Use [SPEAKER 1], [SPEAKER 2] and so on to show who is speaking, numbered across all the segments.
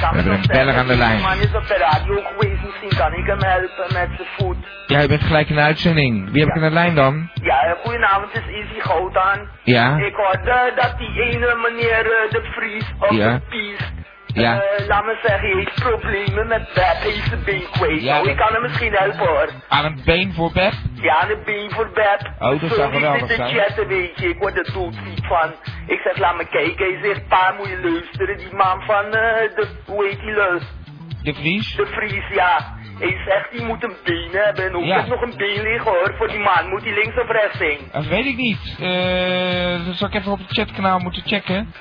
[SPEAKER 1] kan
[SPEAKER 2] We hebben
[SPEAKER 1] nog
[SPEAKER 2] een beller aan de
[SPEAKER 1] verder.
[SPEAKER 2] lijn.
[SPEAKER 1] Die man is op de radio geweest, misschien kan ik hem helpen met zijn voet.
[SPEAKER 2] Jij bent gelijk in de uitzending. Wie heb ik aan de lijn dan?
[SPEAKER 1] Ja, eh, goedenavond, het is Izzy Goudaan.
[SPEAKER 2] Ja?
[SPEAKER 1] Ik hoorde dat die ene meneer eh, De Vries op
[SPEAKER 2] Ja.
[SPEAKER 1] de pies.
[SPEAKER 2] Ja.
[SPEAKER 1] eh, laat me zeggen, hij heeft problemen met Beb, hij is zijn been kwijt.
[SPEAKER 2] Ja,
[SPEAKER 1] nou,
[SPEAKER 2] dat-
[SPEAKER 1] ik kan hem misschien helpen hoor.
[SPEAKER 2] Aan een been voor Beb?
[SPEAKER 1] Ja, de been voor Beb.
[SPEAKER 2] Oh, dat
[SPEAKER 1] Zo
[SPEAKER 2] zou geweldig
[SPEAKER 1] liep ik te
[SPEAKER 2] zijn.
[SPEAKER 1] chatten, weet je. Ik word er doodziek van. Ik zeg, laat me kijken. Hij zegt, pa, moet je luisteren. Die man van, eh, de, hoe heet die leus?
[SPEAKER 2] De Vries?
[SPEAKER 1] De Vries, ja. Hij zegt, die moet een been hebben. En ook
[SPEAKER 2] Ja.
[SPEAKER 1] moet nog een been liggen, hoor. Voor die man moet hij links of rechts heen.
[SPEAKER 2] Dat weet ik niet. Eh, dat zal ik even op het chatkanaal moeten checken.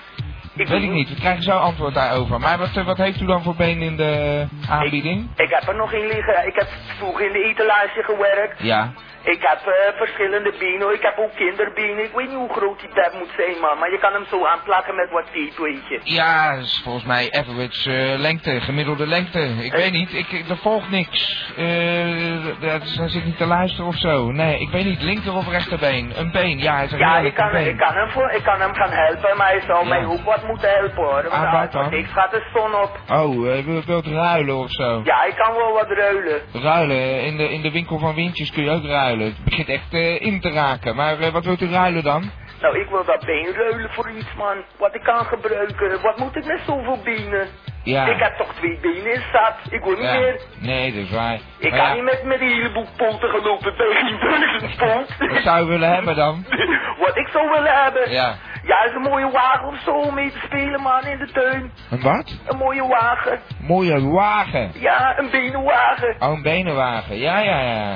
[SPEAKER 1] Ik
[SPEAKER 2] Weet ik niet. We krijgen zo antwoord daarover. Maar wat, eh, wat heeft u dan voor been in de aanbieding?
[SPEAKER 1] Ik heb er nog in liggen. Ik heb vroeger in de etalage gewerkt.
[SPEAKER 2] Ja.
[SPEAKER 1] Ik heb eh, verschillende benen. hoor. Ik heb ook kinderbenen. Ik weet niet hoe groot die bed moet zijn, man. Maar je kan hem zo aanplakken met wat tape, weet je.
[SPEAKER 2] Ja, dat is volgens mij average eh, lengte, gemiddelde lengte. Ik weet niet, ik, ik- er volgt niks. Eh, dat is- hij zit niet te luisteren of zo. Nee, ik weet niet, linker of rechterbeen? Een been, ja, hij zegt
[SPEAKER 1] Ja,
[SPEAKER 2] eerlijk,
[SPEAKER 1] ik kan,
[SPEAKER 2] een been.
[SPEAKER 1] ik, kan hem voor, ik kan hem gaan helpen, maar hij zou
[SPEAKER 2] Ja.
[SPEAKER 1] mij ook wat moeten helpen hoor. Want
[SPEAKER 2] Ah, wat
[SPEAKER 1] als
[SPEAKER 2] dan?
[SPEAKER 1] Ik ga de zon op.
[SPEAKER 2] Oh, eh, wil wilt ruilen of zo?
[SPEAKER 1] Ja, ik kan wel wat ruilen.
[SPEAKER 2] Ruilen, in de, in de winkel van Windjes kun je ook ruilen. Het begint echt eh, in te raken. Maar eh, wat wilt u ruilen dan?
[SPEAKER 1] Nou, ik wil dat been ruilen voor iets, man. Wat ik kan gebruiken. Wat moet ik met zoveel benen?
[SPEAKER 2] Ja.
[SPEAKER 1] Ik heb toch twee benen in zat. Ik wil niet
[SPEAKER 2] Ja.
[SPEAKER 1] meer.
[SPEAKER 2] Nee, dat is waar.
[SPEAKER 1] Ik
[SPEAKER 2] Maar
[SPEAKER 1] kan
[SPEAKER 2] ja,
[SPEAKER 1] niet met, met een heleboel poten gelopen bij geen duizend pond.
[SPEAKER 2] Wat zou u willen hebben dan?
[SPEAKER 1] wat ik zou willen hebben.
[SPEAKER 2] Ja.
[SPEAKER 1] Ja, is een mooie wagen of zo om mee te spelen, man, in de tuin.
[SPEAKER 2] Een wat?
[SPEAKER 1] Een mooie wagen.
[SPEAKER 2] Mooie wagen.
[SPEAKER 1] Ja, een benenwagen.
[SPEAKER 2] Oh, een benenwagen. Ja, ja, ja.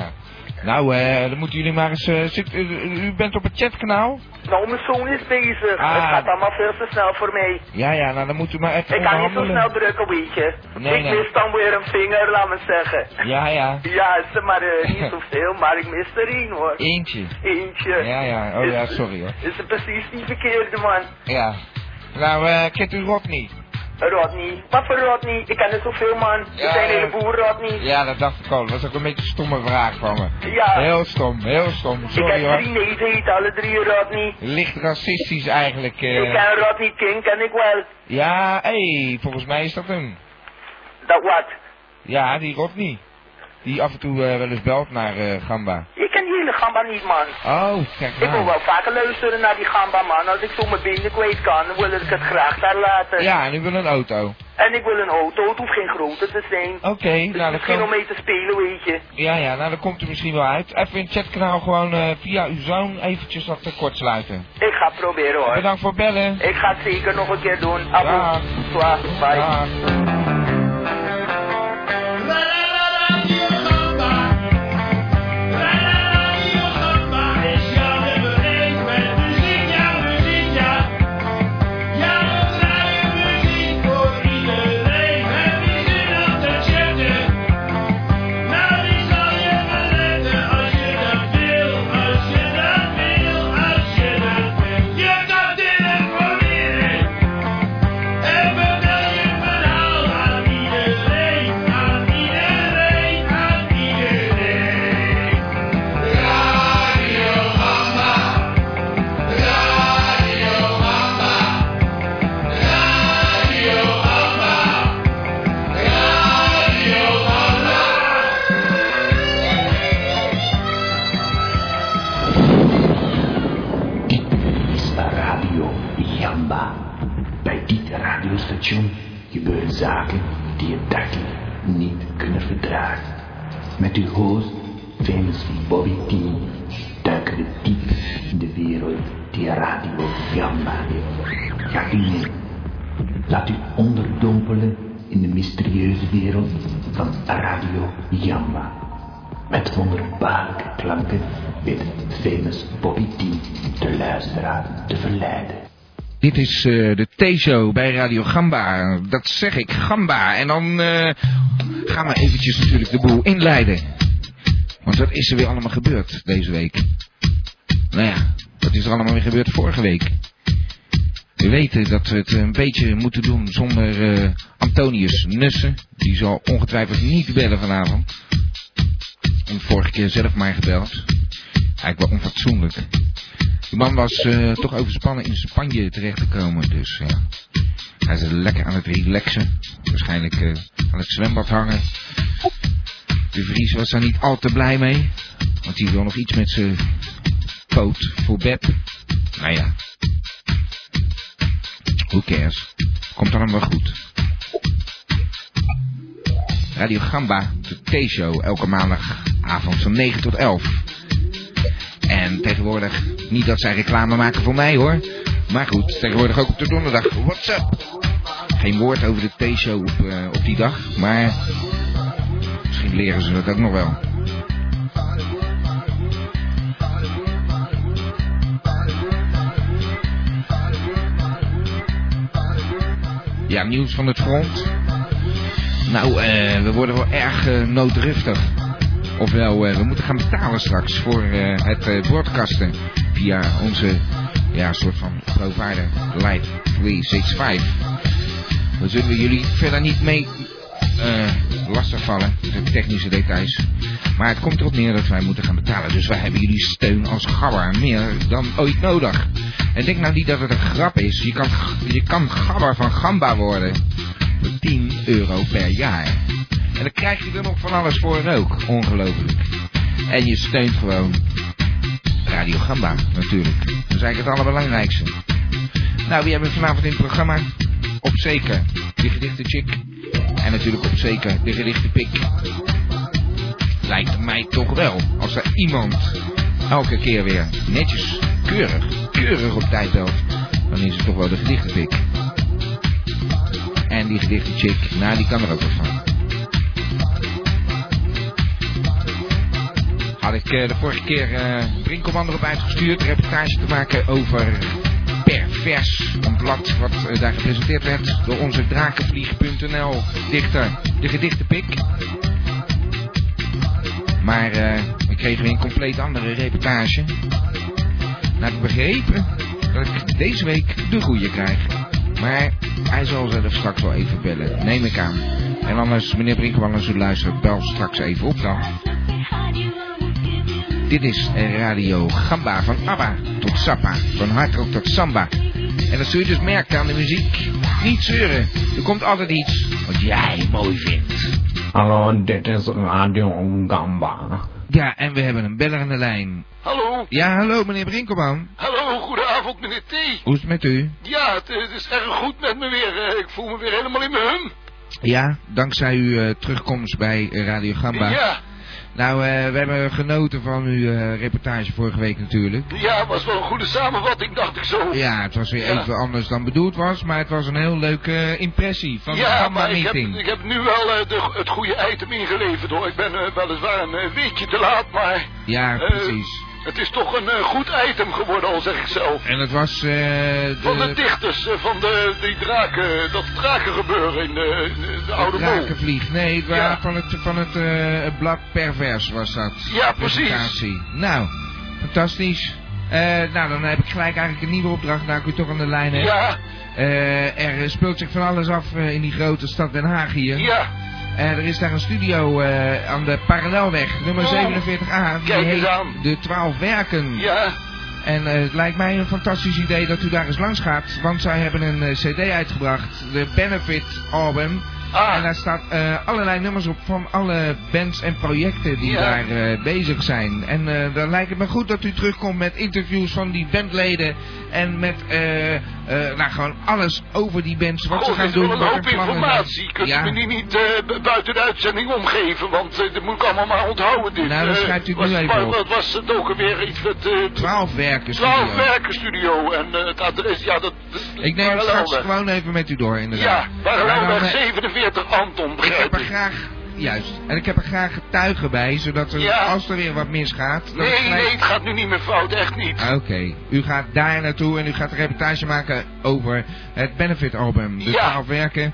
[SPEAKER 2] Nou, eh, dan moeten jullie maar eens... eh, zit, u- u bent op het chatkanaal?
[SPEAKER 1] Nou, mijn zoon is bezig.
[SPEAKER 2] Ah.
[SPEAKER 1] Het gaat allemaal veel te snel voor mij.
[SPEAKER 2] Ja, ja, nou dan moeten we maar even
[SPEAKER 1] Ik kan niet zo
[SPEAKER 2] onderhandelen.
[SPEAKER 1] snel drukken, weet je.
[SPEAKER 2] Nee,
[SPEAKER 1] ik
[SPEAKER 2] nee.
[SPEAKER 1] mis dan weer een vinger, laat me zeggen.
[SPEAKER 2] Ja, ja.
[SPEAKER 1] Ja, ze maar eh, niet zoveel, maar ik mis er één hoor.
[SPEAKER 2] Eentje.
[SPEAKER 1] Eentje.
[SPEAKER 2] Ja, ja. Oh
[SPEAKER 1] Is-
[SPEAKER 2] ja, sorry hoor.
[SPEAKER 1] Is het precies die verkeerde man.
[SPEAKER 2] Ja. Nou, eh, kent u Rodney?
[SPEAKER 1] Rodney. Wat voor Rodney? Ik ken er zoveel man.
[SPEAKER 2] Ja,
[SPEAKER 1] er zijn een
[SPEAKER 2] ja.
[SPEAKER 1] heleboel Rodney.
[SPEAKER 2] Ja, dat dacht ik al. Dat was ook een beetje een stomme vraag van me.
[SPEAKER 1] Ja.
[SPEAKER 2] Heel stom, heel stom.
[SPEAKER 1] ik
[SPEAKER 2] Sorry
[SPEAKER 1] heb
[SPEAKER 2] hoor.
[SPEAKER 1] drie neven, heet alle drie Rodney.
[SPEAKER 2] Licht racistisch eigenlijk. eh.
[SPEAKER 1] Ik ken Rodney King, ken ik wel.
[SPEAKER 2] Ja, hé, volgens mij is dat hem.
[SPEAKER 1] Dat wat?
[SPEAKER 2] Ja, die Rodney. Die af en toe eh, wel eens belt naar eh, Gamba.
[SPEAKER 1] Ik ken die hele gamba niet man.
[SPEAKER 2] Oh, kijk
[SPEAKER 1] Ik wil
[SPEAKER 2] nou.
[SPEAKER 1] wel vaker luisteren naar die gamba man. Als ik zo mijn benen kwijt kan, dan wil ik het graag daar laten.
[SPEAKER 2] Ja, en u wil een auto.
[SPEAKER 1] En ik wil een auto, het hoeft geen grote te zijn.
[SPEAKER 2] Oké,
[SPEAKER 1] Dus
[SPEAKER 2] nou dat
[SPEAKER 1] misschien om
[SPEAKER 2] kan...
[SPEAKER 1] mee te spelen, weet je.
[SPEAKER 2] Ja, ja, nou dat komt er misschien wel uit. Even in het chatkanaal gewoon eh, via uw zoon eventjes dat tekort sluiten.
[SPEAKER 1] Ik ga het proberen hoor.
[SPEAKER 2] Bedankt voor bellen.
[SPEAKER 1] Ik ga het zeker nog een keer doen. Abonneer. Bye.
[SPEAKER 2] Dag.
[SPEAKER 3] is Radio Jamba. Bij dit radiostation gebeuren zaken die je dagelijks niet kunnen verdragen. Met uw host, famous Bobby T, duiken we diep in de wereld die Radio Jamba heeft. Gaat u mee. Laat u onderdompelen in de mysterieuze wereld van Radio Jamba. Met wonderbaarlijke klanken weet famous Bobby D de luisteraar te verleiden.
[SPEAKER 2] Dit is eh, de T-show bij Radio Gamba. Dat zeg ik, Gamba. En dan eh, gaan we eventjes natuurlijk de boel inleiden. Want wat is er weer allemaal gebeurd deze week? Nou ja, wat is er allemaal weer gebeurd vorige week? We weten dat we het een beetje moeten doen zonder eh, Antonius Nussen. Die zal ongetwijfeld niet bellen vanavond. En vorige keer zelf maar gebeld. Eigenlijk wel onfatsoenlijk. Die man was eh, toch overspannen in Spanje terechtgekomen, dus ja. Hij is lekker aan het relaxen. Waarschijnlijk eh, aan het zwembad hangen. De Vries was daar niet al te blij mee. Want hij wil nog iets met zijn poot voor Beb. Nou ja. Who cares? Komt dan allemaal goed. Radio Gamba, de T-show, elke maandagavond van 9 tot 11. En tegenwoordig, niet dat zij reclame maken voor mij hoor. Maar goed, tegenwoordig ook op de donderdag. What's up? Geen woord over de T-show op, eh, op die dag, maar misschien leren ze dat ook nog wel. Ja, nieuws van het front. Nou, eh, we worden wel erg eh, nooddriftig. Ofwel, eh, we moeten gaan betalen straks voor eh, het eh broadcasten via onze ja, soort van provider Light 365. We zullen jullie verder niet mee eh, lastigvallen, de technische details. Maar het komt erop neer dat wij moeten gaan betalen. Dus wij hebben jullie steun als gabber meer dan ooit nodig. En denk nou niet dat het een grap is. Je kan, je kan gabber van gamba worden voor 10 euro per jaar. En dan krijg je er nog van alles voor ook. Ongelooflijk. En je steunt gewoon Radio Gamba natuurlijk. Dat is eigenlijk het allerbelangrijkste. Nou, wie hebben we vanavond in het programma? Op zeker de gedichte chick. En natuurlijk op zeker de gedichte pik. Lijkt mij toch wel. Als er iemand elke keer weer netjes, keurig, keurig op tijd belt. Dan is het toch wel de gedichte pik. En die gedichte chick, nou die kan er ook wat van. Had ik eh, de vorige keer eh Brinkelman erop uitgestuurd, een reportage te maken over Pervers. Een blad wat eh, daar gepresenteerd werd door onze drakenvlieg.nl dichter, de gedichte pik. Maar eh ik kreeg weer een compleet andere reportage. Nou, ik begrepen dat ik deze week de goede krijg. Maar hij zal zelf straks wel even bellen, neem ik aan. En anders, meneer Brinkman, als u luistert, bel straks even op dan. Dit is Radio Gamba van Abba tot Sappa, van hardrock tot samba. En dat zul je dus merken aan de muziek. Niet zeuren, er komt altijd iets wat jij mooi vindt.
[SPEAKER 3] Hallo, dit is Radio Gamba.
[SPEAKER 2] Ja, en we hebben een beller aan de lijn.
[SPEAKER 4] Hallo,
[SPEAKER 2] Ja, hallo meneer Brinkelman.
[SPEAKER 4] hallo, goedenavond meneer T.
[SPEAKER 2] Hoe is het met u?
[SPEAKER 4] Ja, het, eh, het is erg goed met me weer. eh, Ik voel me weer helemaal in mijn hum.
[SPEAKER 2] Ja, dankzij uw eh, terugkomst bij eh, Radio Gamba.
[SPEAKER 4] Ja,
[SPEAKER 2] Nou, eh, we hebben genoten van uw eh, reportage vorige week natuurlijk.
[SPEAKER 4] ja, was wel een goede samenvatting, dacht ik zo.
[SPEAKER 2] Ja, het was weer
[SPEAKER 4] Ja.
[SPEAKER 2] even anders dan bedoeld was, maar het was een heel leuke eh, impressie van de
[SPEAKER 4] Ja,
[SPEAKER 2] Gamma
[SPEAKER 4] maar ik heb,
[SPEAKER 2] Meeting.
[SPEAKER 4] ik heb nu wel eh, de, het goede item ingeleverd hoor. Ik ben eh, weliswaar een eh, weekje te laat, maar
[SPEAKER 2] Ja,
[SPEAKER 4] eh,
[SPEAKER 2] precies.
[SPEAKER 4] het is toch een eh, goed item geworden, al zeg ik zelf.
[SPEAKER 2] En het was eh,
[SPEAKER 4] Van de
[SPEAKER 2] de,
[SPEAKER 4] dichters, eh, van de, die draken, dat drakengebeuren in de, in eh, de Oude Mol.
[SPEAKER 2] Drakenvlieg. Nee, het
[SPEAKER 4] Ja.
[SPEAKER 2] was van het, van het eh, het blad Pervers was dat.
[SPEAKER 4] Ja,
[SPEAKER 2] De
[SPEAKER 4] precies.
[SPEAKER 2] presentatie. Nou, fantastisch. Eh, nou, dan heb ik gelijk eigenlijk een nieuwe opdracht, nou ik u toch aan de lijn heb.
[SPEAKER 4] Ja,
[SPEAKER 2] Eh, er speelt zich van alles af eh, in die grote stad Den Haag hier.
[SPEAKER 4] ja,
[SPEAKER 2] Eh, er is daar een studio eh, aan de Parallelweg, nummer
[SPEAKER 4] Oh.
[SPEAKER 2] 47A. Die
[SPEAKER 4] Kijk eens
[SPEAKER 2] heet
[SPEAKER 4] aan.
[SPEAKER 2] De 12 Werken.
[SPEAKER 4] ja.
[SPEAKER 2] En eh, het lijkt mij een fantastisch idee dat u daar eens langs gaat. Want zij hebben een eh, cd uitgebracht, de Benefit Album. En
[SPEAKER 4] Ah,
[SPEAKER 2] daar staat eh, allerlei nummers op van alle bands en projecten die
[SPEAKER 4] Ja.
[SPEAKER 2] daar eh, bezig zijn. En eh, dan lijkt het me goed dat u terugkomt met interviews van die bandleden. En met eh, eh, nou, gewoon alles over die bands, wat
[SPEAKER 4] Goh,
[SPEAKER 2] ze gaan
[SPEAKER 4] dit Oh, is
[SPEAKER 2] doen,
[SPEAKER 4] wel
[SPEAKER 2] wat
[SPEAKER 4] een
[SPEAKER 2] hun
[SPEAKER 4] hoop
[SPEAKER 2] plannen zijn.
[SPEAKER 4] informatie. Kunt
[SPEAKER 2] ja.
[SPEAKER 4] u me die niet eh, bu- buiten de uitzending omgeven? Want eh, dat moet ik allemaal maar onthouden. Dit.
[SPEAKER 2] Nou, dan
[SPEAKER 4] Eh,
[SPEAKER 2] schrijft u het
[SPEAKER 4] was,
[SPEAKER 2] nu even op.
[SPEAKER 4] Wat was het ook alweer? Iets met eh
[SPEAKER 2] 12 werken.
[SPEAKER 4] 12
[SPEAKER 2] studio.
[SPEAKER 4] werken studio. En eh, het adres, ja, dat... dat-
[SPEAKER 2] Ik neem het straks
[SPEAKER 4] Parallelweg.
[SPEAKER 2] gewoon even met u door, inderdaad.
[SPEAKER 4] Ja,
[SPEAKER 2] Maar dan,
[SPEAKER 4] Parallelweg
[SPEAKER 2] eh,
[SPEAKER 4] 47 Anton,
[SPEAKER 2] Ik heb
[SPEAKER 4] begrijp
[SPEAKER 2] er
[SPEAKER 4] ik.
[SPEAKER 2] graag, juist, en ik heb er graag getuigen bij, zodat er,
[SPEAKER 4] Ja.
[SPEAKER 2] als er weer wat misgaat... dat het
[SPEAKER 4] Nee,
[SPEAKER 2] gelijk-
[SPEAKER 4] nee, het gaat nu niet meer fout. Echt niet.
[SPEAKER 2] Ah, Oké, u gaat daar naartoe en u gaat een reportage maken over het Benefit Album. De
[SPEAKER 4] Ja.
[SPEAKER 2] 12 werken.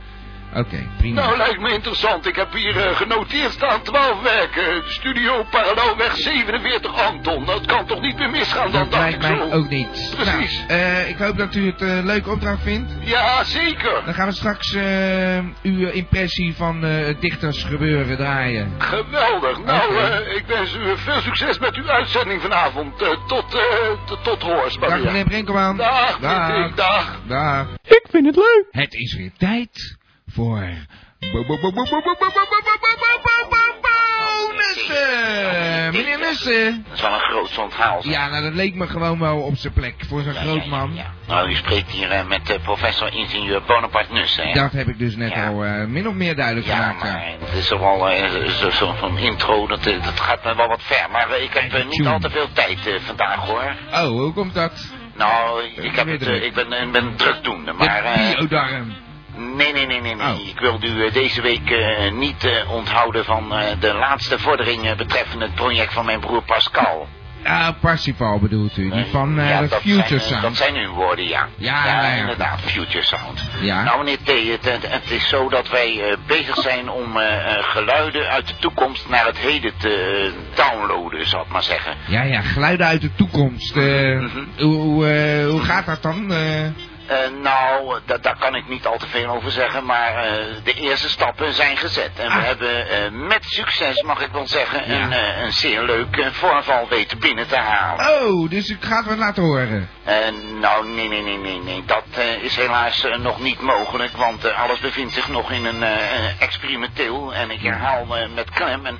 [SPEAKER 2] Oké, prima.
[SPEAKER 4] Nou, lijkt me interessant. Ik heb hier eh, genoteerd staan 12 werken. Studio Parallelweg 47 Anton. Dat kan toch niet meer misgaan dan
[SPEAKER 2] dat
[SPEAKER 4] dacht
[SPEAKER 2] lijkt
[SPEAKER 4] ik zo.
[SPEAKER 2] mij ook niet.
[SPEAKER 4] Precies.
[SPEAKER 2] Nou, eh, ik hoop dat u het een leuke opdracht vindt.
[SPEAKER 4] Ja, zeker.
[SPEAKER 2] Dan gaan we straks eh, uw impressie van eh, het dichtersgebeuren draaien.
[SPEAKER 4] Geweldig. Nou,
[SPEAKER 2] Oké.
[SPEAKER 4] eh, ik wens u veel succes met uw uitzending vanavond. Eh, tot, eh, t- tot hoors,
[SPEAKER 2] Dag
[SPEAKER 4] Maria.
[SPEAKER 2] meneer Brinkelman.
[SPEAKER 4] Dag,
[SPEAKER 2] Dag.
[SPEAKER 4] Dick, dag.
[SPEAKER 2] Dag.
[SPEAKER 5] Ik vind het leuk.
[SPEAKER 2] Het is weer tijd voor... Bonussen! Meneer Nussen!
[SPEAKER 6] Dat is wel een groot onthaal. zeg.
[SPEAKER 2] Ja, nou dat leek me gewoon wel op zijn plek voor zo'n
[SPEAKER 6] Ja, ja,
[SPEAKER 2] groot
[SPEAKER 6] ja,
[SPEAKER 2] man.
[SPEAKER 6] ja. Nou, u spreekt hier eh, met eh, professor ingenieur Bonaparte Nussen. hè?
[SPEAKER 2] Dat heb ik dus net
[SPEAKER 6] Ja.
[SPEAKER 2] al eh, min of meer duidelijk
[SPEAKER 6] Ja,
[SPEAKER 2] gemaakt.
[SPEAKER 6] maar
[SPEAKER 2] ja.
[SPEAKER 6] het is toch wel eh, zo zo'n intro, dat, eh, dat gaat me wel wat ver. Maar eh, ik heb eh, niet
[SPEAKER 2] Tjoen.
[SPEAKER 6] al te veel tijd eh, vandaag hoor.
[SPEAKER 2] Oh, hoe komt dat?
[SPEAKER 6] Nou, ik, heb
[SPEAKER 2] weer
[SPEAKER 6] het, eh,
[SPEAKER 2] druk.
[SPEAKER 6] ik ben, ik ben drukdoende, maar...
[SPEAKER 2] De
[SPEAKER 6] eh,
[SPEAKER 2] biodarm.
[SPEAKER 6] nee, nee, nee, nee, nee.
[SPEAKER 2] Oh.
[SPEAKER 6] Ik wil u eh, deze week eh, niet eh, onthouden van eh, de laatste vordering eh, betreffende het project van mijn broer Pascal.
[SPEAKER 2] Ah, Parsifal bedoelt u, die
[SPEAKER 6] Nee,
[SPEAKER 2] van eh,
[SPEAKER 6] ja,
[SPEAKER 2] de
[SPEAKER 6] dat
[SPEAKER 2] Future
[SPEAKER 6] zijn, eh,
[SPEAKER 2] Sound.
[SPEAKER 6] Dat zijn uw woorden, ja.
[SPEAKER 2] Ja, ja, ja.
[SPEAKER 6] inderdaad, Future Sound.
[SPEAKER 2] Ja.
[SPEAKER 6] Nou, meneer T, het, het, het is zo dat wij eh, bezig zijn om eh, eh, geluiden uit de toekomst naar het heden te eh, downloaden, zal ik maar zeggen.
[SPEAKER 2] Ja, ja, geluiden uit de toekomst. eh,
[SPEAKER 6] Mhm.
[SPEAKER 2] hoe, hoe, eh, hoe gaat dat dan? eh?
[SPEAKER 6] Eh, nou, da- daar kan ik niet al te veel over zeggen, maar eh, de eerste stappen zijn gezet. En we
[SPEAKER 2] Ah.
[SPEAKER 6] hebben eh, met succes, mag ik wel zeggen,
[SPEAKER 2] Ja.
[SPEAKER 6] een, eh, een zeer leuk eh, voorval weten binnen te halen.
[SPEAKER 2] Oh, dus ik ga het wat laten horen.
[SPEAKER 6] Eh, nou, nee, nee, nee, nee, nee. Dat eh, is helaas eh, nog niet mogelijk, want eh, alles bevindt zich nog in een eh, eh, experimenteel, en ik herhaal eh, met klem, een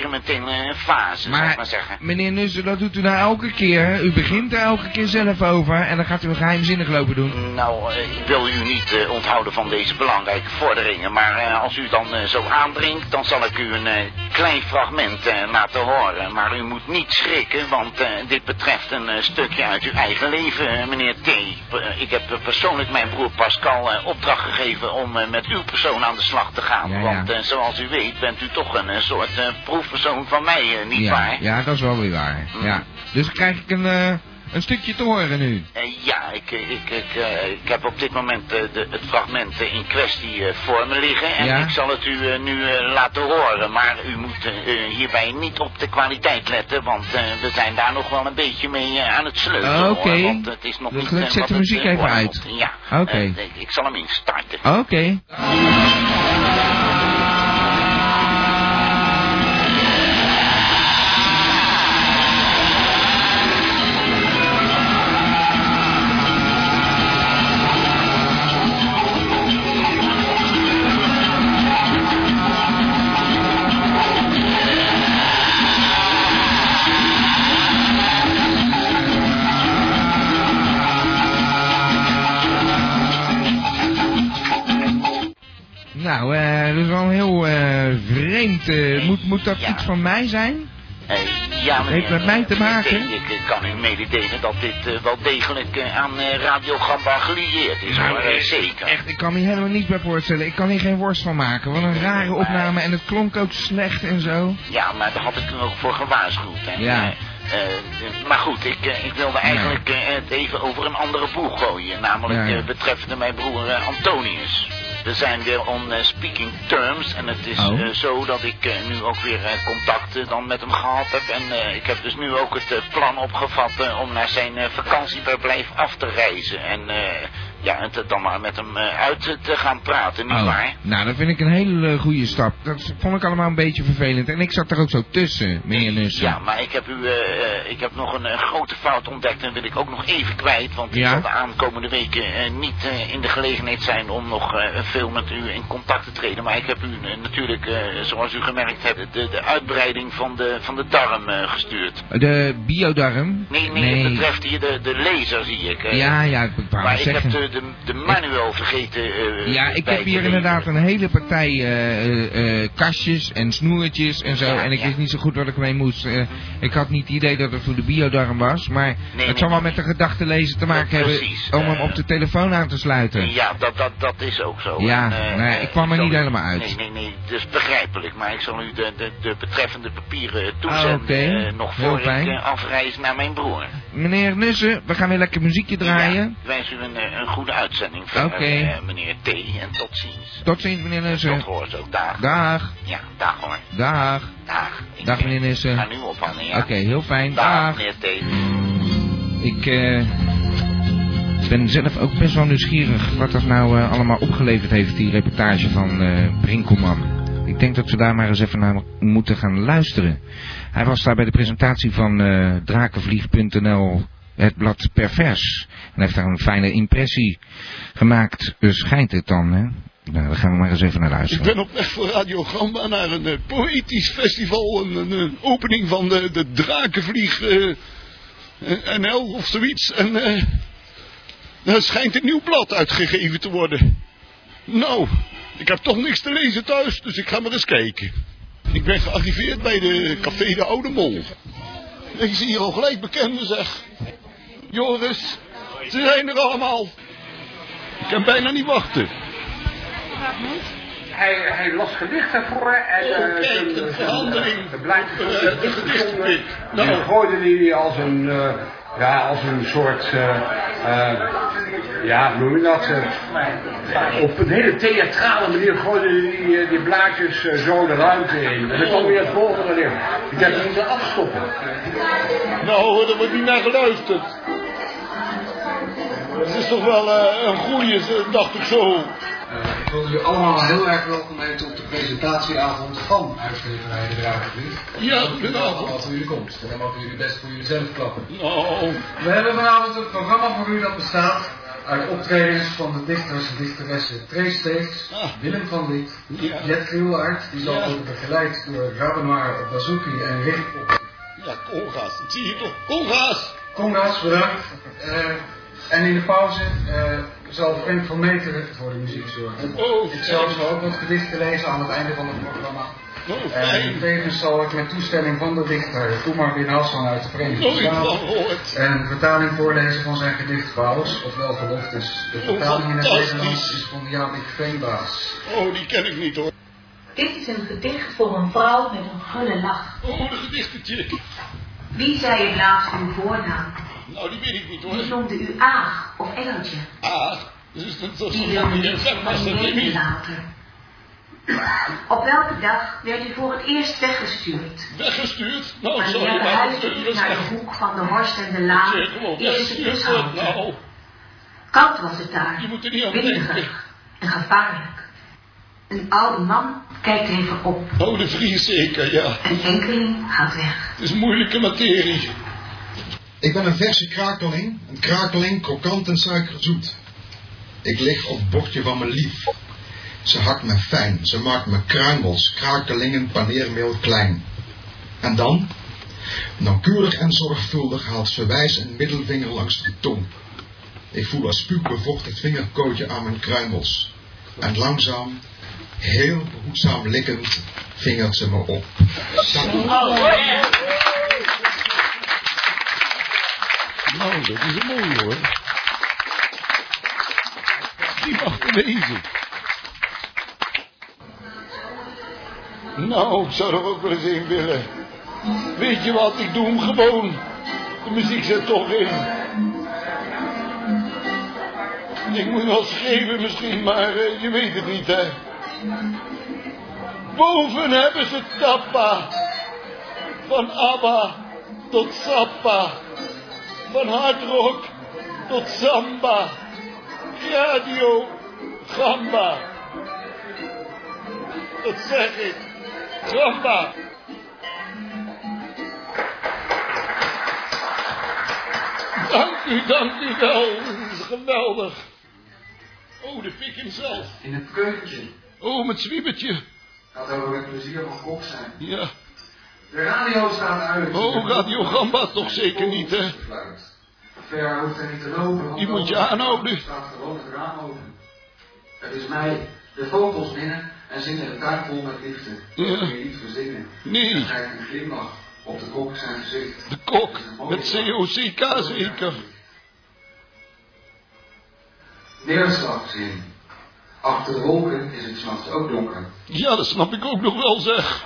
[SPEAKER 6] experimentele fase, zou ik maar zeggen.
[SPEAKER 2] meneer Nussen, dat doet u nou elke keer. hè? U begint er elke keer zelf over en dan gaat u een geheimzinnig lopen doen.
[SPEAKER 6] Nou, eh, ik wil u niet eh, onthouden van deze belangrijke vorderingen, maar eh, als u dan eh, zo aandringt, dan zal ik u een eh, klein fragment eh, laten horen. Maar u moet niet schrikken, want eh, dit betreft een eh, stukje uit uw eigen leven, eh, meneer T. P- eh, ik heb eh, persoonlijk mijn broer Pascal eh, opdracht gegeven om eh, met uw persoon aan de slag te gaan.
[SPEAKER 2] Ja, ja.
[SPEAKER 6] Want eh, zoals u weet bent u toch een eh, soort eh, proefpersoon van mij, eh, niet
[SPEAKER 2] ja,
[SPEAKER 6] waar?
[SPEAKER 2] ja, dat is wel weer waar.
[SPEAKER 6] Mhm.
[SPEAKER 2] Ja. Dus dan krijg ik een, eh, een stukje te horen nu.
[SPEAKER 6] Eh, ja, ik, eh, ik, ik, eh, ik heb op dit moment eh, de, het fragment eh, in kwestie eh, voor me liggen. En
[SPEAKER 2] Ja?
[SPEAKER 6] ik zal het u eh, nu eh, laten horen. Maar u moet eh, eh, hierbij niet op de kwaliteit letten. Want eh, we zijn daar nog wel een beetje mee eh, aan het sleutelen.
[SPEAKER 2] Oh, oké.
[SPEAKER 6] hoor, want het is nog
[SPEAKER 2] Dan
[SPEAKER 6] niet...
[SPEAKER 2] zet
[SPEAKER 6] eh,
[SPEAKER 2] de
[SPEAKER 6] wat het,
[SPEAKER 2] muziek
[SPEAKER 6] eh,
[SPEAKER 2] even
[SPEAKER 6] worden
[SPEAKER 2] uit.
[SPEAKER 6] moet. Ja.
[SPEAKER 2] Oké.
[SPEAKER 6] Eh, ik- ik zal hem instarten.
[SPEAKER 2] Oké. Nou, eh, dat is wel een heel eh, vreemd. eh, moet, moet dat
[SPEAKER 6] Ja.
[SPEAKER 2] iets van mij zijn?
[SPEAKER 6] Eh, ja, meneer,
[SPEAKER 2] Heeft met mij te
[SPEAKER 6] eh, meneer
[SPEAKER 2] maken?
[SPEAKER 6] T, Ik, eh, kan u mededelen dat dit eh, wel degelijk eh, aan eh, Radio Gamba gelieerd is. hoor, eh,
[SPEAKER 2] eh,
[SPEAKER 6] zeker.
[SPEAKER 2] Echt, ik kan me hier helemaal niets bij voorstellen. Ik kan hier geen worst van maken. Wat een rare opname en het klonk ook slecht en zo.
[SPEAKER 6] Ja, maar daar had ik u ook voor gewaarschuwd. Hè.
[SPEAKER 2] Ja.
[SPEAKER 6] Eh, eh, maar goed, ik, eh, ik wilde eigenlijk eh, het even over een andere boeg gooien. Namelijk
[SPEAKER 2] Ja, ja.
[SPEAKER 6] eh, betreffende mijn broer eh, Antonius. We zijn weer on eh, speaking terms. En het is
[SPEAKER 2] Oh.
[SPEAKER 6] eh, zo dat ik eh, nu ook weer eh, contact eh, dan met hem gehad heb. En eh, ik heb dus nu ook het eh, plan opgevat eh, om naar zijn eh, vakantieverblijf af te reizen. En eh, ja, het dan maar met hem eh, uit eh, te gaan praten, niet
[SPEAKER 2] Oh,
[SPEAKER 6] waar?
[SPEAKER 2] nou, dat vind ik een hele eh, goede stap. Dat vond ik allemaal een beetje vervelend. En ik zat er ook zo tussen, meneer Nussen.
[SPEAKER 6] Ja, maar ik heb, u, eh, eh, ik heb nog een eh, grote fout ontdekt en wil ik ook nog even kwijt. Want
[SPEAKER 2] Ja?
[SPEAKER 6] ik zal de aankomende weken eh, niet eh, in de gelegenheid zijn om nog eh, veel met u in contact te treden. Maar ik heb u eh, natuurlijk, eh, zoals u gemerkt hebt, de, de uitbreiding van de, van de darm eh, gestuurd.
[SPEAKER 2] De biodarm?
[SPEAKER 6] Nee, nee, het betreft hier de, de laser, zie ik. eh.
[SPEAKER 2] Ja, ja, ik wou
[SPEAKER 6] Maar
[SPEAKER 2] het
[SPEAKER 6] ik
[SPEAKER 2] zeggen.
[SPEAKER 6] heb de, de, de manual vergeten. eh,
[SPEAKER 2] Ja, ik
[SPEAKER 6] bij
[SPEAKER 2] heb
[SPEAKER 6] te
[SPEAKER 2] hier
[SPEAKER 6] leveren.
[SPEAKER 2] inderdaad een hele partij eh, eh, eh, kastjes en snoertjes en zo.
[SPEAKER 6] Ja,
[SPEAKER 2] en ik
[SPEAKER 6] ja.
[SPEAKER 2] wist niet zo goed wat ik mee moest. Eh, ik had niet het idee dat het voor de biodarm was. Maar het
[SPEAKER 6] nee,
[SPEAKER 2] zal wel
[SPEAKER 6] nee.
[SPEAKER 2] met de gedachte lezen te maken
[SPEAKER 6] Ja,
[SPEAKER 2] hebben
[SPEAKER 6] precies.
[SPEAKER 2] om hem
[SPEAKER 6] Eh,
[SPEAKER 2] op de telefoon aan te sluiten.
[SPEAKER 6] Ja, dat, dat, dat is ook zo.
[SPEAKER 2] Hm. Ja,
[SPEAKER 6] eh,
[SPEAKER 2] nee,
[SPEAKER 6] eh,
[SPEAKER 2] ik kwam er
[SPEAKER 6] zal
[SPEAKER 2] niet
[SPEAKER 6] u-
[SPEAKER 2] helemaal uit.
[SPEAKER 6] Nee, nee, nee, dat is begrijpelijk. Maar ik zal u de, de, de betreffende papieren toezenden.
[SPEAKER 2] Ah, oké.
[SPEAKER 6] eh, nog
[SPEAKER 2] Heel
[SPEAKER 6] voor ik
[SPEAKER 2] fijn.
[SPEAKER 6] eh, afreis naar mijn broer.
[SPEAKER 2] meneer Nussen, we gaan weer lekker muziekje draaien.
[SPEAKER 6] Ja, wens u een, eh, een goede uitzending verder,
[SPEAKER 2] Oké.
[SPEAKER 6] eh, meneer T. En tot ziens.
[SPEAKER 2] Tot ziens, meneer
[SPEAKER 6] Tot
[SPEAKER 2] Nussen.
[SPEAKER 6] hoort ook. Dag.
[SPEAKER 2] Dag,
[SPEAKER 6] Ja, dag hoor.
[SPEAKER 2] dag.
[SPEAKER 6] Dag. Ik,
[SPEAKER 2] Dag,
[SPEAKER 6] eh,
[SPEAKER 2] meneer Nissen.
[SPEAKER 6] Ga nu ophangen, ja.
[SPEAKER 2] Oké, heel fijn.
[SPEAKER 6] Dag,
[SPEAKER 2] Dag.
[SPEAKER 6] meneer T.
[SPEAKER 2] Ik eh, ben zelf ook best wel nieuwsgierig wat dat nou eh, allemaal opgeleverd heeft, die reportage van eh Brinkelman. Ik denk dat we daar maar eens even naar moeten gaan luisteren. Hij was daar bij de presentatie van eh, drakenvlieg.nl, het blad Pervers. En heeft daar een fijne impressie gemaakt, eh, schijnt het dan. Hè? Nou, daar gaan we maar eens even naar
[SPEAKER 4] Ik
[SPEAKER 2] luisteren.
[SPEAKER 4] ben op weg voor Radio Gamba naar een eh, poëtisch festival. Een, een, een opening van de, de Drakenvlieg eh, eh, NL of zoiets. En eh, er schijnt een nieuw blad uitgegeven te worden. Nou, ik heb toch niks te lezen thuis, dus ik ga maar eens kijken. Ik ben gearriveerd bij de Café de Oude Mol. Ik zie hier al gelijk bekenden, zeg. Joris, ze zijn er allemaal. Ik kan bijna niet wachten.
[SPEAKER 5] Hij, hij las gedichten voor en
[SPEAKER 4] Oh,
[SPEAKER 5] eh,
[SPEAKER 4] kijk,
[SPEAKER 5] zijn-
[SPEAKER 4] een
[SPEAKER 5] zijn-
[SPEAKER 4] verandering.
[SPEAKER 5] de blaadjes
[SPEAKER 4] Eh,
[SPEAKER 5] werden
[SPEAKER 4] een
[SPEAKER 5] ingezonden.
[SPEAKER 4] gedichtpik. Nou.
[SPEAKER 5] En gooide hij als een, eh, ja, als een soort, eh, eh, ja, hoe noem je dat? eh, op een hele theatrale manier gooide hij die, eh, die blaadjes eh, zo de ruimte in. En dan kwam weer het volgende erin. Ik heb hem niet meer afstoppen.
[SPEAKER 4] Nou, er wordt niet naar geluisterd. Het is toch wel eh, een goeie, eh, dacht ik zo.
[SPEAKER 7] Eh, Ik wil jullie allemaal heel erg welkom heten op de presentatieavond van uitgeverij De Drakenvlieg.
[SPEAKER 4] Ja,
[SPEAKER 7] Welkom
[SPEAKER 4] goedenavond.
[SPEAKER 7] als u hier komt. En dan mogen jullie best voor jezelf klappen.
[SPEAKER 4] Nou,
[SPEAKER 7] We hebben vanavond een programma voor u dat bestaat uit optredens van de dichters en dichteressen Trace Steeks,
[SPEAKER 4] Ah.
[SPEAKER 7] Willem van Liet,
[SPEAKER 4] Ja.
[SPEAKER 7] Jet Krielaert, die zal
[SPEAKER 4] Ja.
[SPEAKER 7] worden begeleid door Rabenoir Bazouki en Rick Pop.
[SPEAKER 4] ja, Conga's, dat zie je toch? Conga's!
[SPEAKER 7] Conga's, bedankt. Eh, en in de pauze eh, zal Frank van Meteren voor de muziek zorgen.
[SPEAKER 4] Oh,
[SPEAKER 7] ik zal zo ook wat gedichten lezen aan het einde van het programma.
[SPEAKER 4] Nou,
[SPEAKER 7] En
[SPEAKER 4] fijn.
[SPEAKER 7] tevens zal ik met toestemming van de dichter Toemar bin Hassan uit de Verenigde
[SPEAKER 4] Nooit van
[SPEAKER 7] Staten
[SPEAKER 4] gehoord.
[SPEAKER 7] een vertaling voorlezen van zijn gedicht Baus, ofwel geloftes. De vertaling in het
[SPEAKER 4] fantastisch.
[SPEAKER 7] Nederlands is van Jabik Veenbaas.
[SPEAKER 4] Oh, die ken ik niet hoor.
[SPEAKER 8] Dit is een gedicht voor een vrouw met een gulle lach.
[SPEAKER 4] Oh, een gedichtetje.
[SPEAKER 8] Wie zei het laatst uw voornaam?
[SPEAKER 4] Nou, die weet ik niet
[SPEAKER 8] Wie
[SPEAKER 4] hoor.
[SPEAKER 8] noemde u Aag of Engeltje?
[SPEAKER 4] Ah, dat is dat is
[SPEAKER 8] Die wil
[SPEAKER 4] een
[SPEAKER 8] u
[SPEAKER 4] niet. Zeg maar,
[SPEAKER 8] van
[SPEAKER 4] ze
[SPEAKER 8] u
[SPEAKER 4] niet.
[SPEAKER 8] weten laten. Op welke dag werd u voor het eerst weggestuurd?
[SPEAKER 4] Weggestuurd? Nou,
[SPEAKER 8] Wanneer
[SPEAKER 4] sorry,
[SPEAKER 8] de
[SPEAKER 4] maar
[SPEAKER 8] huizen naar de
[SPEAKER 4] rustig.
[SPEAKER 8] hoek van de Horst en de
[SPEAKER 4] Ja,
[SPEAKER 8] Laan
[SPEAKER 4] Kom op,
[SPEAKER 8] eerste
[SPEAKER 4] weggestuurd
[SPEAKER 8] bus
[SPEAKER 4] wordt
[SPEAKER 8] hadden.
[SPEAKER 4] nou.
[SPEAKER 8] Koud was het daar,
[SPEAKER 4] Je moet er niet aan denken.
[SPEAKER 8] winderig en gevaarlijk. Een oude man kijkt even op.
[SPEAKER 4] Oh, de Vries zeker, ja.
[SPEAKER 8] Een enkeling gaat weg.
[SPEAKER 4] Het is moeilijke materie.
[SPEAKER 7] Ik ben een verse krakeling, een krakeling krokant en suikerzoet. Ik lig op het bordje van mijn lief. Ze hakt me fijn, ze maakt me kruimels, krakelingen, paneermeel klein. En dan? Nauwkeurig en zorgvuldig haalt ze wijs een middelvinger langs de tong. Ik voel als spuug bevochtigd vingerkootje aan mijn kruimels. En langzaam, heel behoedzaam likkend, vingert ze me op. Dank u.
[SPEAKER 4] Nou, dat is een mooi hoor. Die mag er lezen. Nou, ik zou er ook wel eens in willen. Weet je wat, ik doe hem gewoon. De muziek zit toch in. Ik moet wel schreeuwen misschien, maar eh, je weet het niet, hè. Boven hebben ze tappa. Van Abba tot Sappa. Van hardrock tot samba. Radio Gamba. Dat zeg ik. Gamba. Dank u, dank u wel. Dat is geweldig. Oh, de pik hemzelf.
[SPEAKER 7] In het keukentje
[SPEAKER 4] Oh, met zwiebertje.
[SPEAKER 7] gaat over met plezier van kok zijn.
[SPEAKER 4] Ja.
[SPEAKER 7] De radio staat uit.
[SPEAKER 4] Oh, Radio Gamba toch zeker niet, hè?
[SPEAKER 7] Ver hoeft er niet te lopen. want
[SPEAKER 4] Die moet je
[SPEAKER 7] over-
[SPEAKER 4] aanhouden.
[SPEAKER 7] staat gewoon het raam open. Het is mij, de vogels binnen en zingen een taart vol met liefde. Dat
[SPEAKER 4] Ja.
[SPEAKER 7] kun je niet verzinnen.
[SPEAKER 4] Nee.
[SPEAKER 7] Dan krijg ik een glimlach op de kok zijn gezicht.
[SPEAKER 4] De kok. Met COCK zeker.
[SPEAKER 7] Neerslagzin. Achter de wolken is het s'nachts ook donker.
[SPEAKER 4] Ja, dat snap ik ook nog wel, zeg.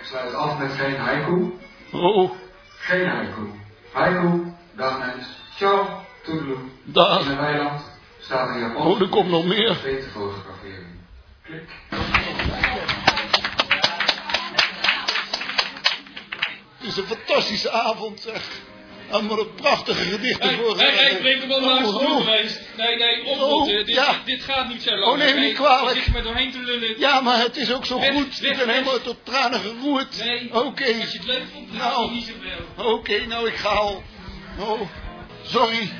[SPEAKER 7] Ik sluit af met geen haiku.
[SPEAKER 4] Oh,
[SPEAKER 7] Geen haiku. Haiku Dag mens. Ciao. Toedeloe.
[SPEAKER 4] Dag.
[SPEAKER 7] In een weiland staat een Japan.
[SPEAKER 4] Ah. Oh, er komt nog meer.
[SPEAKER 7] Beter fotograferen. Klik.
[SPEAKER 4] Het is een fantastische avond, zeg. En maar een prachtige gedichten
[SPEAKER 9] Hey,
[SPEAKER 4] voor...
[SPEAKER 9] hey, hey, breng hem allemaal langs
[SPEAKER 4] Oh,
[SPEAKER 9] de
[SPEAKER 4] oh.
[SPEAKER 9] geweest. Nee, nee, op, eh,
[SPEAKER 4] Oh,
[SPEAKER 9] dit,
[SPEAKER 4] ja.
[SPEAKER 9] dit gaat niet zo lang.
[SPEAKER 4] Oh, neem me
[SPEAKER 9] Nee,
[SPEAKER 4] niet kwalijk.
[SPEAKER 9] Je zit maar doorheen te lullen.
[SPEAKER 4] Ja, maar het is ook zo
[SPEAKER 9] Weg,
[SPEAKER 4] goed.
[SPEAKER 9] weg,
[SPEAKER 4] Ik ben
[SPEAKER 9] weg.
[SPEAKER 4] helemaal tot tranen geroerd.
[SPEAKER 9] Nee,
[SPEAKER 4] Oké.
[SPEAKER 9] als je het leuk vond, praat
[SPEAKER 4] Nou.
[SPEAKER 9] je niet zoveel.
[SPEAKER 4] Oké, nou ik ga al. Oh, sorry.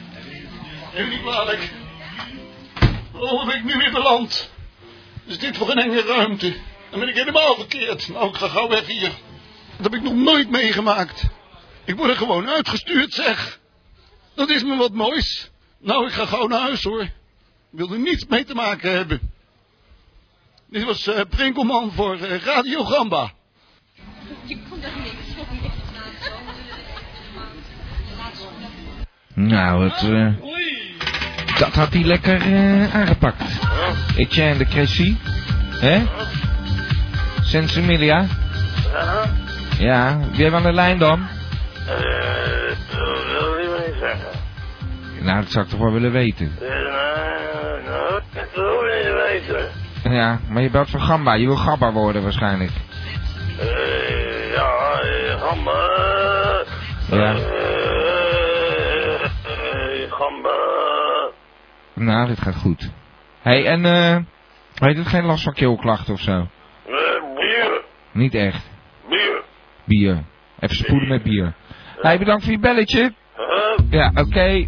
[SPEAKER 4] Neem niet kwalijk. Oh, ben ik nu weer beland. Is dit voor een enge ruimte? Dan ben ik helemaal verkeerd. Nou, ik ga gauw weg hier. Dat heb ik nog nooit meegemaakt. Ik word er gewoon uitgestuurd, zeg. Dat is me wat moois. Nou, ik ga gauw naar huis, hoor. Ik wil er niets mee te maken hebben. Dit was eh Prinkelman voor eh, Radio Gamba.
[SPEAKER 2] Nou, het,
[SPEAKER 4] Ah.
[SPEAKER 2] eh,
[SPEAKER 9] Oei.
[SPEAKER 2] dat had hij lekker eh, aangepakt.
[SPEAKER 4] Ah.
[SPEAKER 2] Etienne de Crécy. Hè? Sensimilia.
[SPEAKER 6] Eh,
[SPEAKER 2] Ja, wie hebben we aan de lijn dan?
[SPEAKER 6] eh,
[SPEAKER 8] wil je maar niet zeggen.
[SPEAKER 2] Nou, dat zou ik toch wel willen weten.
[SPEAKER 6] Eh,
[SPEAKER 8] Nou, dat wil je niet weten.
[SPEAKER 2] Ja, maar je belt voor Gamba. Je wil Gabba worden waarschijnlijk.
[SPEAKER 8] Eh, ja, eh, gamba.
[SPEAKER 2] Ja.
[SPEAKER 8] Eh, eh, gamba.
[SPEAKER 2] Nou, dit gaat goed. hey, en eh... Heeft het geen last van keelklachten of zo?
[SPEAKER 8] Eh, bier.
[SPEAKER 2] Niet echt.
[SPEAKER 8] Bier.
[SPEAKER 2] Bier. Even spoelen met bier. hey, bedankt voor je belletje.
[SPEAKER 8] Huh?
[SPEAKER 2] Ja, oké.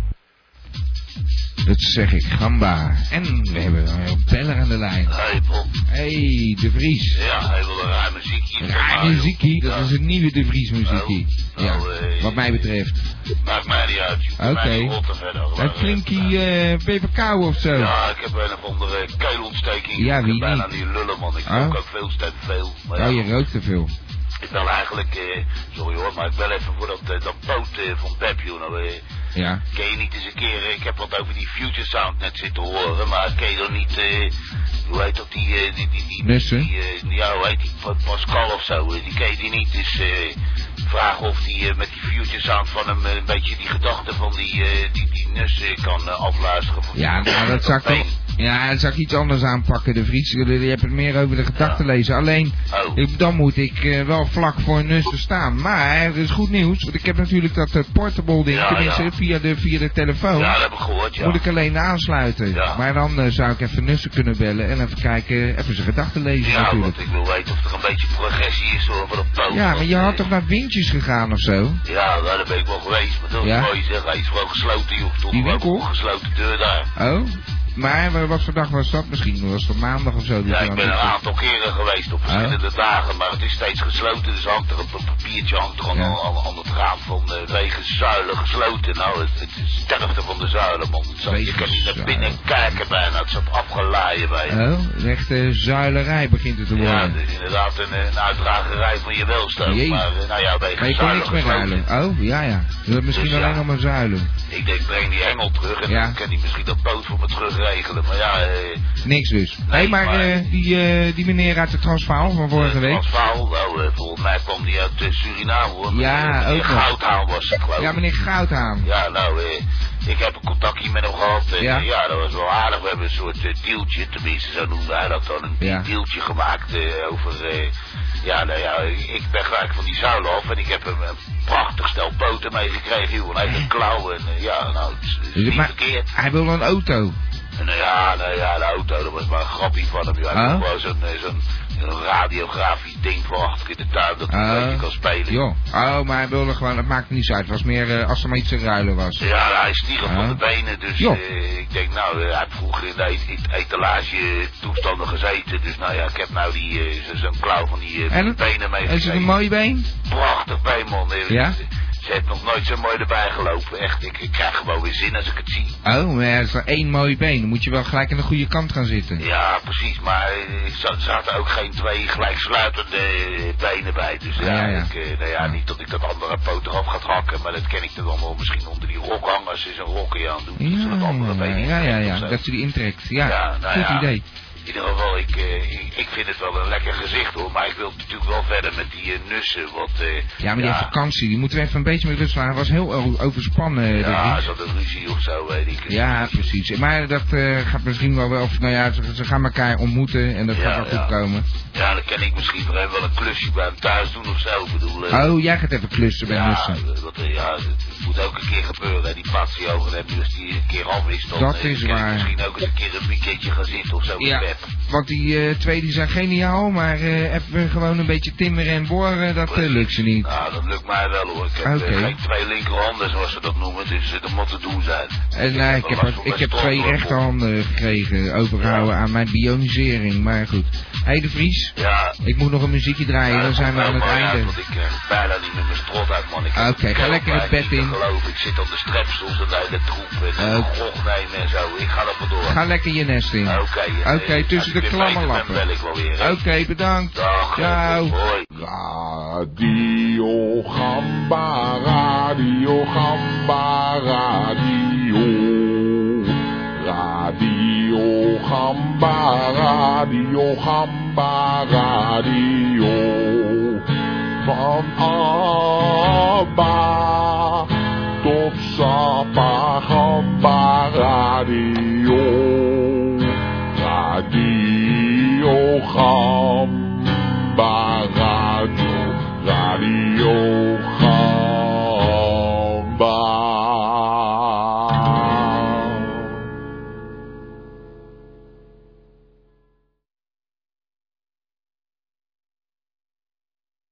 [SPEAKER 2] Dat zeg ik, Gamba. En we hebben een beller aan de lijn.
[SPEAKER 10] Hey, Pop.
[SPEAKER 2] hey, De Vries.
[SPEAKER 10] Ja, hij wil een raar muziekje.
[SPEAKER 2] Ja, muziekie, dat is een nieuwe De Vries muziekie.
[SPEAKER 10] Oh,
[SPEAKER 2] Ja,
[SPEAKER 10] nou, eh,
[SPEAKER 2] wat mij betreft.
[SPEAKER 10] Maakt mij niet uit.
[SPEAKER 2] Oké. Een flinkie eh peperkou of zo.
[SPEAKER 10] nou, Ja, ik heb een of andere keelontsteking.
[SPEAKER 2] Ja, wie
[SPEAKER 10] ik ben bijna
[SPEAKER 2] niet?
[SPEAKER 10] niet lullen, man. Ik
[SPEAKER 2] Oh.
[SPEAKER 10] rook ook veel, stem veel. Maar ja,
[SPEAKER 2] Oh, je rookt te veel.
[SPEAKER 10] ik bel eigenlijk... eh, sorry hoor, maar ik bel even voor dat, eh, dat boot eh, van Pep, joh. Nou, eh,
[SPEAKER 2] Ja.
[SPEAKER 10] ken je niet eens een keer... eh, ik heb wat over die Future Sound net zitten horen, maar ken je dan niet... eh, hoe heet dat die... eh, die, die, die
[SPEAKER 2] Nussen?
[SPEAKER 10] die, eh, ja, hoe heet die? Pa- Pascal of zo. eh, die ken je die niet. Dus eh vraag of die eh, met die Future Sound van hem... eh, een beetje die gedachten van die, eh, die, die Nussen kan eh, afluisteren.
[SPEAKER 2] Ja, nou, dat zou ik
[SPEAKER 10] Fijn.
[SPEAKER 2] toch... Ja, dat zou ik iets anders aanpakken, de Vries. Je hebt het meer over de gedachtenlezen. Alleen,
[SPEAKER 10] Oh.
[SPEAKER 2] ik- dan moet ik eh, wel vlak voor Nussen staan. Maar het is goed nieuws, want ik heb natuurlijk dat eh, portable ding.
[SPEAKER 10] Ja,
[SPEAKER 2] tenminste,
[SPEAKER 10] ja.
[SPEAKER 2] Via, de, via de telefoon.
[SPEAKER 10] Ja, dat heb ik gehoord, ja.
[SPEAKER 2] Moet ik alleen aansluiten.
[SPEAKER 10] Ja.
[SPEAKER 2] Maar dan eh, zou ik even Nussen kunnen bellen en even kijken, even zijn gedachten lezen
[SPEAKER 10] Ja,
[SPEAKER 2] natuurlijk.
[SPEAKER 10] want ik wil weten of er een beetje progressie is hoor, van op poot.
[SPEAKER 2] Ja, maar
[SPEAKER 10] Want,
[SPEAKER 2] je had
[SPEAKER 10] eh,
[SPEAKER 2] toch naar Windjes gegaan of zo?
[SPEAKER 10] Ja, nou, daar ben ik wel geweest, maar dat
[SPEAKER 2] Ja?
[SPEAKER 10] ja? je zeggen. Hij is gewoon gesloten, joh. Toch
[SPEAKER 2] Die
[SPEAKER 10] gewoon
[SPEAKER 2] winkel?
[SPEAKER 10] een gesloten deur daar.
[SPEAKER 2] Oh? Maar eh, wat voor dag was dat misschien? Was het maandag of zo? die
[SPEAKER 10] Ja,
[SPEAKER 2] je
[SPEAKER 10] ik
[SPEAKER 2] aan
[SPEAKER 10] ben een
[SPEAKER 2] het-
[SPEAKER 10] aantal keren geweest op verschillende dagen, maar het is steeds gesloten. Dus hangt er een pa- papiertje hangt er aan,
[SPEAKER 2] Ja.
[SPEAKER 10] aan, aan het raam van eh, wegens zuilen gesloten. Nou, het, het is sterfte van de zuilen, man. Het zat, je
[SPEAKER 2] Wegens
[SPEAKER 10] kan niet naar binnen
[SPEAKER 2] zuilen.
[SPEAKER 10] kijken bijna. Het zat afgelaaien bij
[SPEAKER 2] Oh, een echte zuilerij begint het te worden.
[SPEAKER 10] Ja, het is inderdaad een, eh, een uitdragerij van je welstand.
[SPEAKER 2] Jezus.
[SPEAKER 10] Maar eh, nou ja, wegens
[SPEAKER 2] Maar je kon
[SPEAKER 10] zuilen
[SPEAKER 2] niks meer
[SPEAKER 10] gesloten.
[SPEAKER 2] ruilen. Oh, ja, ja. Je hebt misschien
[SPEAKER 10] Dus ja.
[SPEAKER 2] alleen nog maar zuilen.
[SPEAKER 10] Ik denk, breng die hengel terug en
[SPEAKER 2] Ja.
[SPEAKER 10] dan kan hij misschien dat boot voor me terug regelen. Maar ja, eh,
[SPEAKER 2] Niks dus. Hé, hey, maar,
[SPEAKER 10] maar-
[SPEAKER 2] eh, die, eh, die meneer uit de Transvaal van vorige
[SPEAKER 10] eh,
[SPEAKER 2] week.
[SPEAKER 10] Frans Waal, nou, eh, volgens mij kwam die uit eh, Suriname hoor.
[SPEAKER 2] Ja,
[SPEAKER 10] Meneer- meneer
[SPEAKER 2] ook nog.
[SPEAKER 10] Goudhaan was het geloof ik.
[SPEAKER 2] Ja, meneer Goudhaan.
[SPEAKER 10] Ja, nou, eh, ik heb een contactje met hem gehad. En,
[SPEAKER 2] Ja.
[SPEAKER 10] ja. ja, dat was wel aardig. We hebben een soort eh, dealtje, tenminste, zo noemde hij dat dan. Een
[SPEAKER 2] Ja.
[SPEAKER 10] dealtje gemaakt eh, over... eh, ja, nou ja, ik ben gelijk van die zuilen af en ik heb hem een prachtig stel poten meegekregen. joh, Een eigen klauw en eh, ja, nou, het is, het is
[SPEAKER 2] Dus,
[SPEAKER 10] niet
[SPEAKER 2] maar
[SPEAKER 10] verkeerd.
[SPEAKER 2] hij wil een auto.
[SPEAKER 10] Nou ja, nou ja, de auto, dat was maar een grapje van hem. Ja,
[SPEAKER 2] Huh?
[SPEAKER 10] dat was zo'n eh, zo'n zo'n radiografisch ding voor achter in de tuin dat hij een
[SPEAKER 2] Eh,
[SPEAKER 10] beetje kan spelen.
[SPEAKER 2] Joh. Oh, maar hij wilde gewoon, het maakt niets uit. Het was meer eh, als er maar iets te ruilen was.
[SPEAKER 10] Ja, hij stierf
[SPEAKER 2] Huh?
[SPEAKER 10] van de benen, dus
[SPEAKER 2] Joh.
[SPEAKER 10] eh, ik denk, nou, eh, hij heeft vroeger in de et- et- etalage eh, toestanden gezeten. Dus nou ja, ik heb nou die eh, zo- zo'n klauw van die eh,
[SPEAKER 2] En het-
[SPEAKER 10] benen
[SPEAKER 2] Is het een
[SPEAKER 10] meegekregen.
[SPEAKER 2] mooi been?
[SPEAKER 10] Prachtig been, man. Eh,
[SPEAKER 2] Ja?
[SPEAKER 10] Ze heeft nog nooit zo mooi erbij gelopen. Echt, ik, ik krijg gewoon weer zin als ik het zie.
[SPEAKER 2] Oh, maar er is maar één mooi been. Dan moet je wel gelijk aan de goede kant gaan zitten.
[SPEAKER 10] Ja, precies, maar eh, za- er zaten ook geen twee gelijksluitende eh, benen bij. Dus ja,
[SPEAKER 2] Ja, ja.
[SPEAKER 10] Ik, eh, nou ja, niet dat ik dat andere poot eraf ga hakken, maar dat ken ik dan wel misschien onder die rokhangers is een rokje aan doen. dus
[SPEAKER 2] Ja,
[SPEAKER 10] dat ze dat andere
[SPEAKER 2] ja,
[SPEAKER 10] been
[SPEAKER 2] ja, ja,
[SPEAKER 10] intrekt
[SPEAKER 2] ja.
[SPEAKER 10] of zo.
[SPEAKER 2] Dat ze die intrekt. Ja,
[SPEAKER 10] Ja, nou
[SPEAKER 2] goed
[SPEAKER 10] ja.
[SPEAKER 2] idee.
[SPEAKER 10] Dus, eh, In ieder geval, ik, eh, ik, ik vind het wel een lekker gezicht hoor. Maar ik wil natuurlijk wel verder met die eh, nussen. Want, eh,
[SPEAKER 2] Ja, maar die vakantie, die moeten we even een beetje met rust laten. Hij was heel o- overspannen. eh, dit
[SPEAKER 10] ja,
[SPEAKER 2] niet.
[SPEAKER 10] ze hadden ruzie of zo, weet ik.
[SPEAKER 2] ja, precies. Maar dat eh, gaat misschien wel wel... of, Nou ja, ze, ze gaan elkaar ontmoeten en dat
[SPEAKER 10] Ja,
[SPEAKER 2] gaat wel
[SPEAKER 10] ja.
[SPEAKER 2] goed komen.
[SPEAKER 10] Ja, dan kan ik misschien voor hem wel een klusje bij hem thuis doen of zo. Ik bedoel, eh,
[SPEAKER 2] Oh, jij gaat even klussen bij
[SPEAKER 10] ja,
[SPEAKER 2] Nussen.
[SPEAKER 10] eh, Want, eh, ja, het moet ook een keer gebeuren. Hè. Die passie over hem, dus die een keer af is. Dan,
[SPEAKER 2] Dat
[SPEAKER 10] eh,
[SPEAKER 2] is
[SPEAKER 10] kan ik
[SPEAKER 2] waar.
[SPEAKER 10] misschien ook eens een keer een weekendje gaan zitten of zo
[SPEAKER 2] Ja.
[SPEAKER 10] in bed.
[SPEAKER 2] Want die eh, twee die zijn geniaal, maar eh, even gewoon een beetje timmeren en boren, dat eh, lukt ze niet.
[SPEAKER 10] Nou, dat lukt mij wel hoor. Ik heb eh,
[SPEAKER 2] Oké.
[SPEAKER 10] geen twee linkerhanden zoals ze dat noemen, dus eh, dat moet te doen zijn.
[SPEAKER 2] En nou, ik, heb,
[SPEAKER 10] last
[SPEAKER 2] ook-
[SPEAKER 10] van
[SPEAKER 2] ik
[SPEAKER 10] mijn
[SPEAKER 2] heb twee
[SPEAKER 10] stormrompel.
[SPEAKER 2] rechterhanden gekregen, overgehouden aan mijn bionisering, maar goed. Hé de Vries,
[SPEAKER 10] Ja.
[SPEAKER 2] ik moet nog een muziekje draaien,
[SPEAKER 10] Ja,
[SPEAKER 2] dan
[SPEAKER 10] dat
[SPEAKER 2] zijn we
[SPEAKER 10] komt
[SPEAKER 2] aan het
[SPEAKER 10] helemaal uit,
[SPEAKER 2] einde.
[SPEAKER 10] want ik krijg bijna niet meer mijn strot uit, man. Ik heb
[SPEAKER 2] Oké, ga
[SPEAKER 10] een
[SPEAKER 2] lekker het bed
[SPEAKER 10] niet te
[SPEAKER 2] in.
[SPEAKER 10] geloven. Ik zit op de strepsels en de hele troep en
[SPEAKER 2] Oké.
[SPEAKER 10] uh, nemen en zo. Ik ga er maar door.
[SPEAKER 2] Ga lekker je nest in.
[SPEAKER 10] Oké. eh,
[SPEAKER 2] Oké, tussen de
[SPEAKER 10] als ik weer
[SPEAKER 2] klamme
[SPEAKER 10] beter ben,
[SPEAKER 2] lappen.
[SPEAKER 10] bel ik wel weer, hè.
[SPEAKER 2] Oké, bedankt.
[SPEAKER 10] Dag. eh,
[SPEAKER 2] Ciao.
[SPEAKER 11] Radio Gamba, Radio Gamba, Radio. Radio Gamba, Radio Gamba, Radio. Van Abba tot Sapa Gamba, Radio. Radio Gamba.